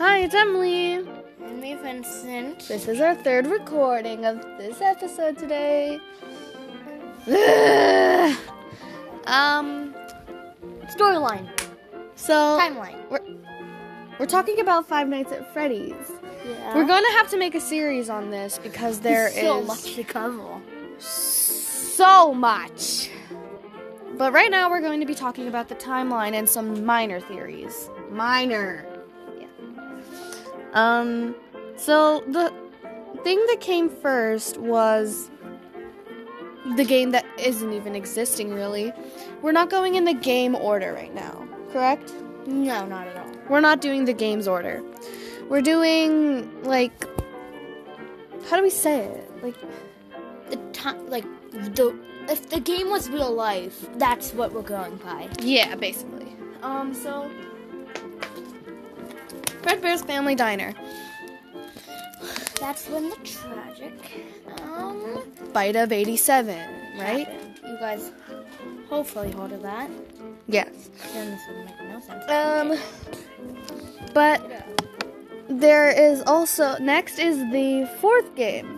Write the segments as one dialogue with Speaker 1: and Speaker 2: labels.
Speaker 1: it's Emily.
Speaker 2: And me, Vincent.
Speaker 1: This is our third recording of this episode today. um,
Speaker 2: Storyline.
Speaker 1: so
Speaker 2: Timeline.
Speaker 1: we're talking about Five Nights at Freddy's.
Speaker 2: Yeah.
Speaker 1: We're gonna have to make a series on this because there is
Speaker 2: Uh-huh. so much to cover.
Speaker 1: so much. But right now we're going to be talking about the timeline and some minor theories. Minor. Yeah. Um so the thing that came first was the game that isn't even existing really. We're not going in the game order right now, correct?
Speaker 2: No, not at all.
Speaker 1: We're not doing the game's order. We're doing like how do we say it? Like
Speaker 2: The time, like the if the game was real life, that's what we're going by.
Speaker 1: Yeah, basically. Um, so Fred Bear's Family Diner.
Speaker 2: That's when the tragic um
Speaker 1: Bite of 87, right?
Speaker 2: happened. You guys hopefully heard of that.
Speaker 1: Yes.
Speaker 2: Then this would make no sense.
Speaker 1: Um but there is also next is the fourth game.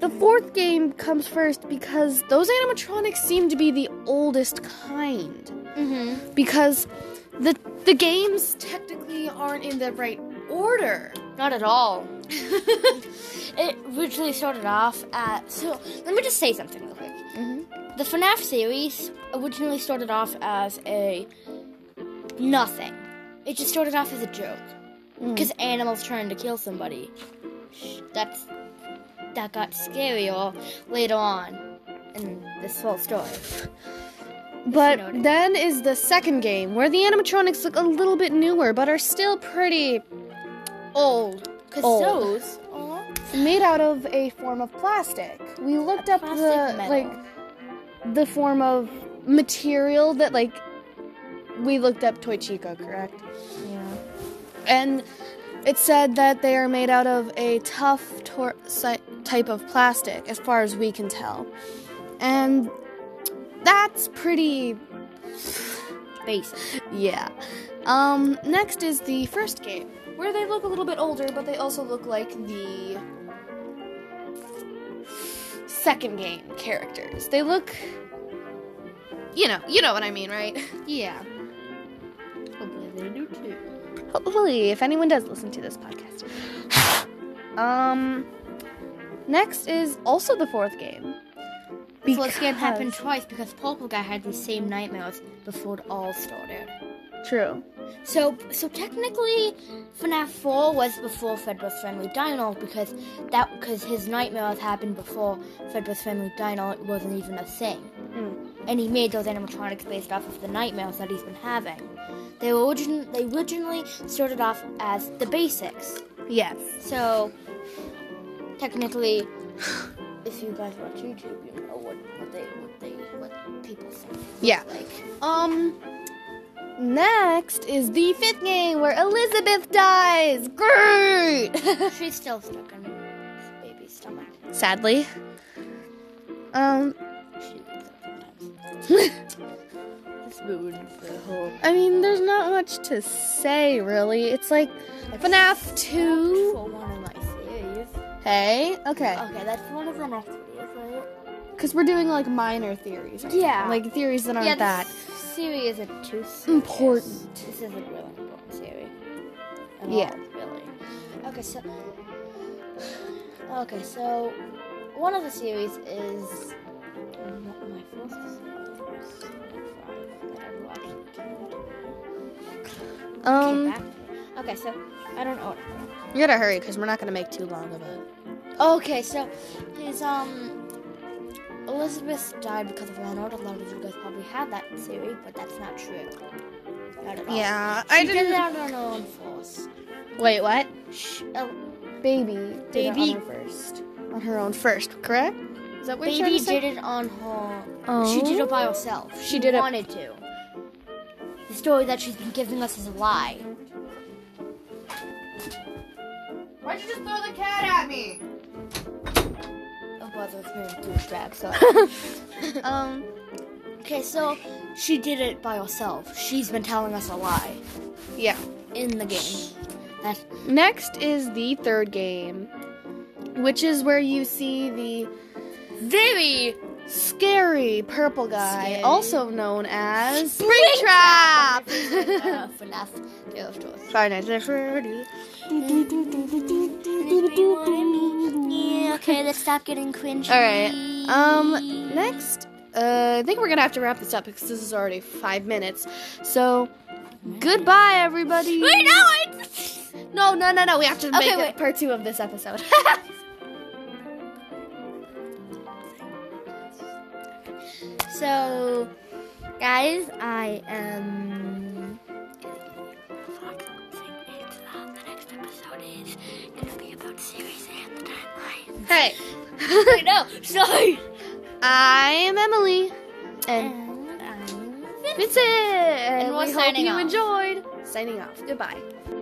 Speaker 1: The fourth game comes first because those animatronics seem to be the oldest kind.
Speaker 2: mm-hmm.
Speaker 1: Because the the games technically aren't in the right order.
Speaker 2: Not at all. it originally started off at so let me just say something real quick. The FNAF series originally started off as a nothing. It just started off as a joke because animals trying to kill somebody. Sh- That's that got scarier later on in this whole story.
Speaker 1: But then is the second game where the animatronics look a little bit newer but are still pretty old.
Speaker 2: Because
Speaker 1: Old.
Speaker 2: those are
Speaker 1: Made out of a form of plastic. We looked up
Speaker 2: plastic
Speaker 1: the
Speaker 2: metal.
Speaker 1: like the form of material that like we looked up Toy Chico, correct?
Speaker 2: yeah.
Speaker 1: And it said that they are made out of a tough tor- si- type of plastic, as far as we can tell. And that's pretty
Speaker 2: basic.
Speaker 1: Yeah. Um, next is the first game, where they look a little bit older, but they also look like the second game characters. They look you know, you know what I mean, right?
Speaker 2: Yeah. Hopefully they do too.
Speaker 1: Hopefully, if anyone does listen to this podcast. um next is also the fourth game.
Speaker 2: So this game happened
Speaker 1: Because-
Speaker 2: twice because Purple Guy had these same nightmares before it all started.
Speaker 1: True.
Speaker 2: So, so technically, FNAF 4 was before Fred was Friendly Dino because that because his nightmares happened before Fred was Friendly Dino wasn't even a thing,
Speaker 1: Mm.
Speaker 2: and he made those animatronics based off of the nightmares that he's been having. They were origin they originally started off as the basics.
Speaker 1: Yes.
Speaker 2: So, technically, if you guys watch YouTube, you know what, what they what they what people think.
Speaker 1: Yeah.
Speaker 2: Like,
Speaker 1: Um. Next is the fifth game where Elizabeth dies. Great.
Speaker 2: she's still stuck in his baby's stomach.
Speaker 1: Sadly. Um.
Speaker 2: She leaves it sometimes. This ruins the whole.
Speaker 1: I mean, there's not much to say really. It's like FNAF two.
Speaker 2: For one of my series.
Speaker 1: Hey. Okay.
Speaker 2: Okay, that's one of the next videos, right?
Speaker 1: Because we're doing like minor theories. right
Speaker 2: Yeah.
Speaker 1: now, Like theories that aren't
Speaker 2: yeah,
Speaker 1: that.
Speaker 2: This series isn't too serious.
Speaker 1: Important.
Speaker 2: This is a really important series. At
Speaker 1: Yeah.
Speaker 2: all, really. Okay, so. Okay, so one of the series is um, what my first five that I've watched. Came to me. Came
Speaker 1: Um.
Speaker 2: back to me. Okay, so I don't know. What
Speaker 1: You gotta hurry because we're not gonna make too long of it.
Speaker 2: Okay, so his um Elizabeth died because of Leonard. A lot of you guys probably had that theory, but that's not true. Not at all.
Speaker 1: Yeah.
Speaker 2: she did it out on her own force.
Speaker 1: Wait. What?
Speaker 2: Sh oh,
Speaker 1: Baby. Did
Speaker 2: Baby-
Speaker 1: it on her first. On her own first. Correct. Is that what you're trying
Speaker 2: baby
Speaker 1: to say?
Speaker 2: did it on her. She did it by herself. She,
Speaker 1: Oh. did it-
Speaker 2: wanted to. The story that she's been giving us is a lie.
Speaker 1: Why'd you just throw the cat at me?
Speaker 2: Oh, brother, it's been a douchebag. So
Speaker 1: Um,
Speaker 2: okay, so she did it by herself. She's been telling us a lie
Speaker 1: yeah.
Speaker 2: in the game. That's
Speaker 1: Next is the third game, which is where you see the
Speaker 2: very
Speaker 1: scary purple guy,
Speaker 2: Scary.
Speaker 1: also known as
Speaker 2: Springtrap!
Speaker 1: Springtrap.
Speaker 2: FNAF Tale of Joy.
Speaker 1: Five Nights at Freddy's.
Speaker 2: Yeah, okay, let's stop getting cringy.
Speaker 1: All right. Um. Next, uh, I think we're gonna have to wrap this up because this is already five minutes. So, goodbye, everybody.
Speaker 2: Wait, no, it's.
Speaker 1: No, no, no, no. We have to make
Speaker 2: Okay,
Speaker 1: it
Speaker 2: wait.
Speaker 1: part two of this episode.
Speaker 2: So, guys, I am. The next episode is gonna be about series and the timeline.
Speaker 1: hey,
Speaker 2: Wait, no, sorry.
Speaker 1: I'm Emily, and
Speaker 2: And I'm
Speaker 1: Vincent. And
Speaker 2: we're
Speaker 1: we hope
Speaker 2: signing
Speaker 1: you
Speaker 2: off.
Speaker 1: enjoyed. Signing off. Goodbye.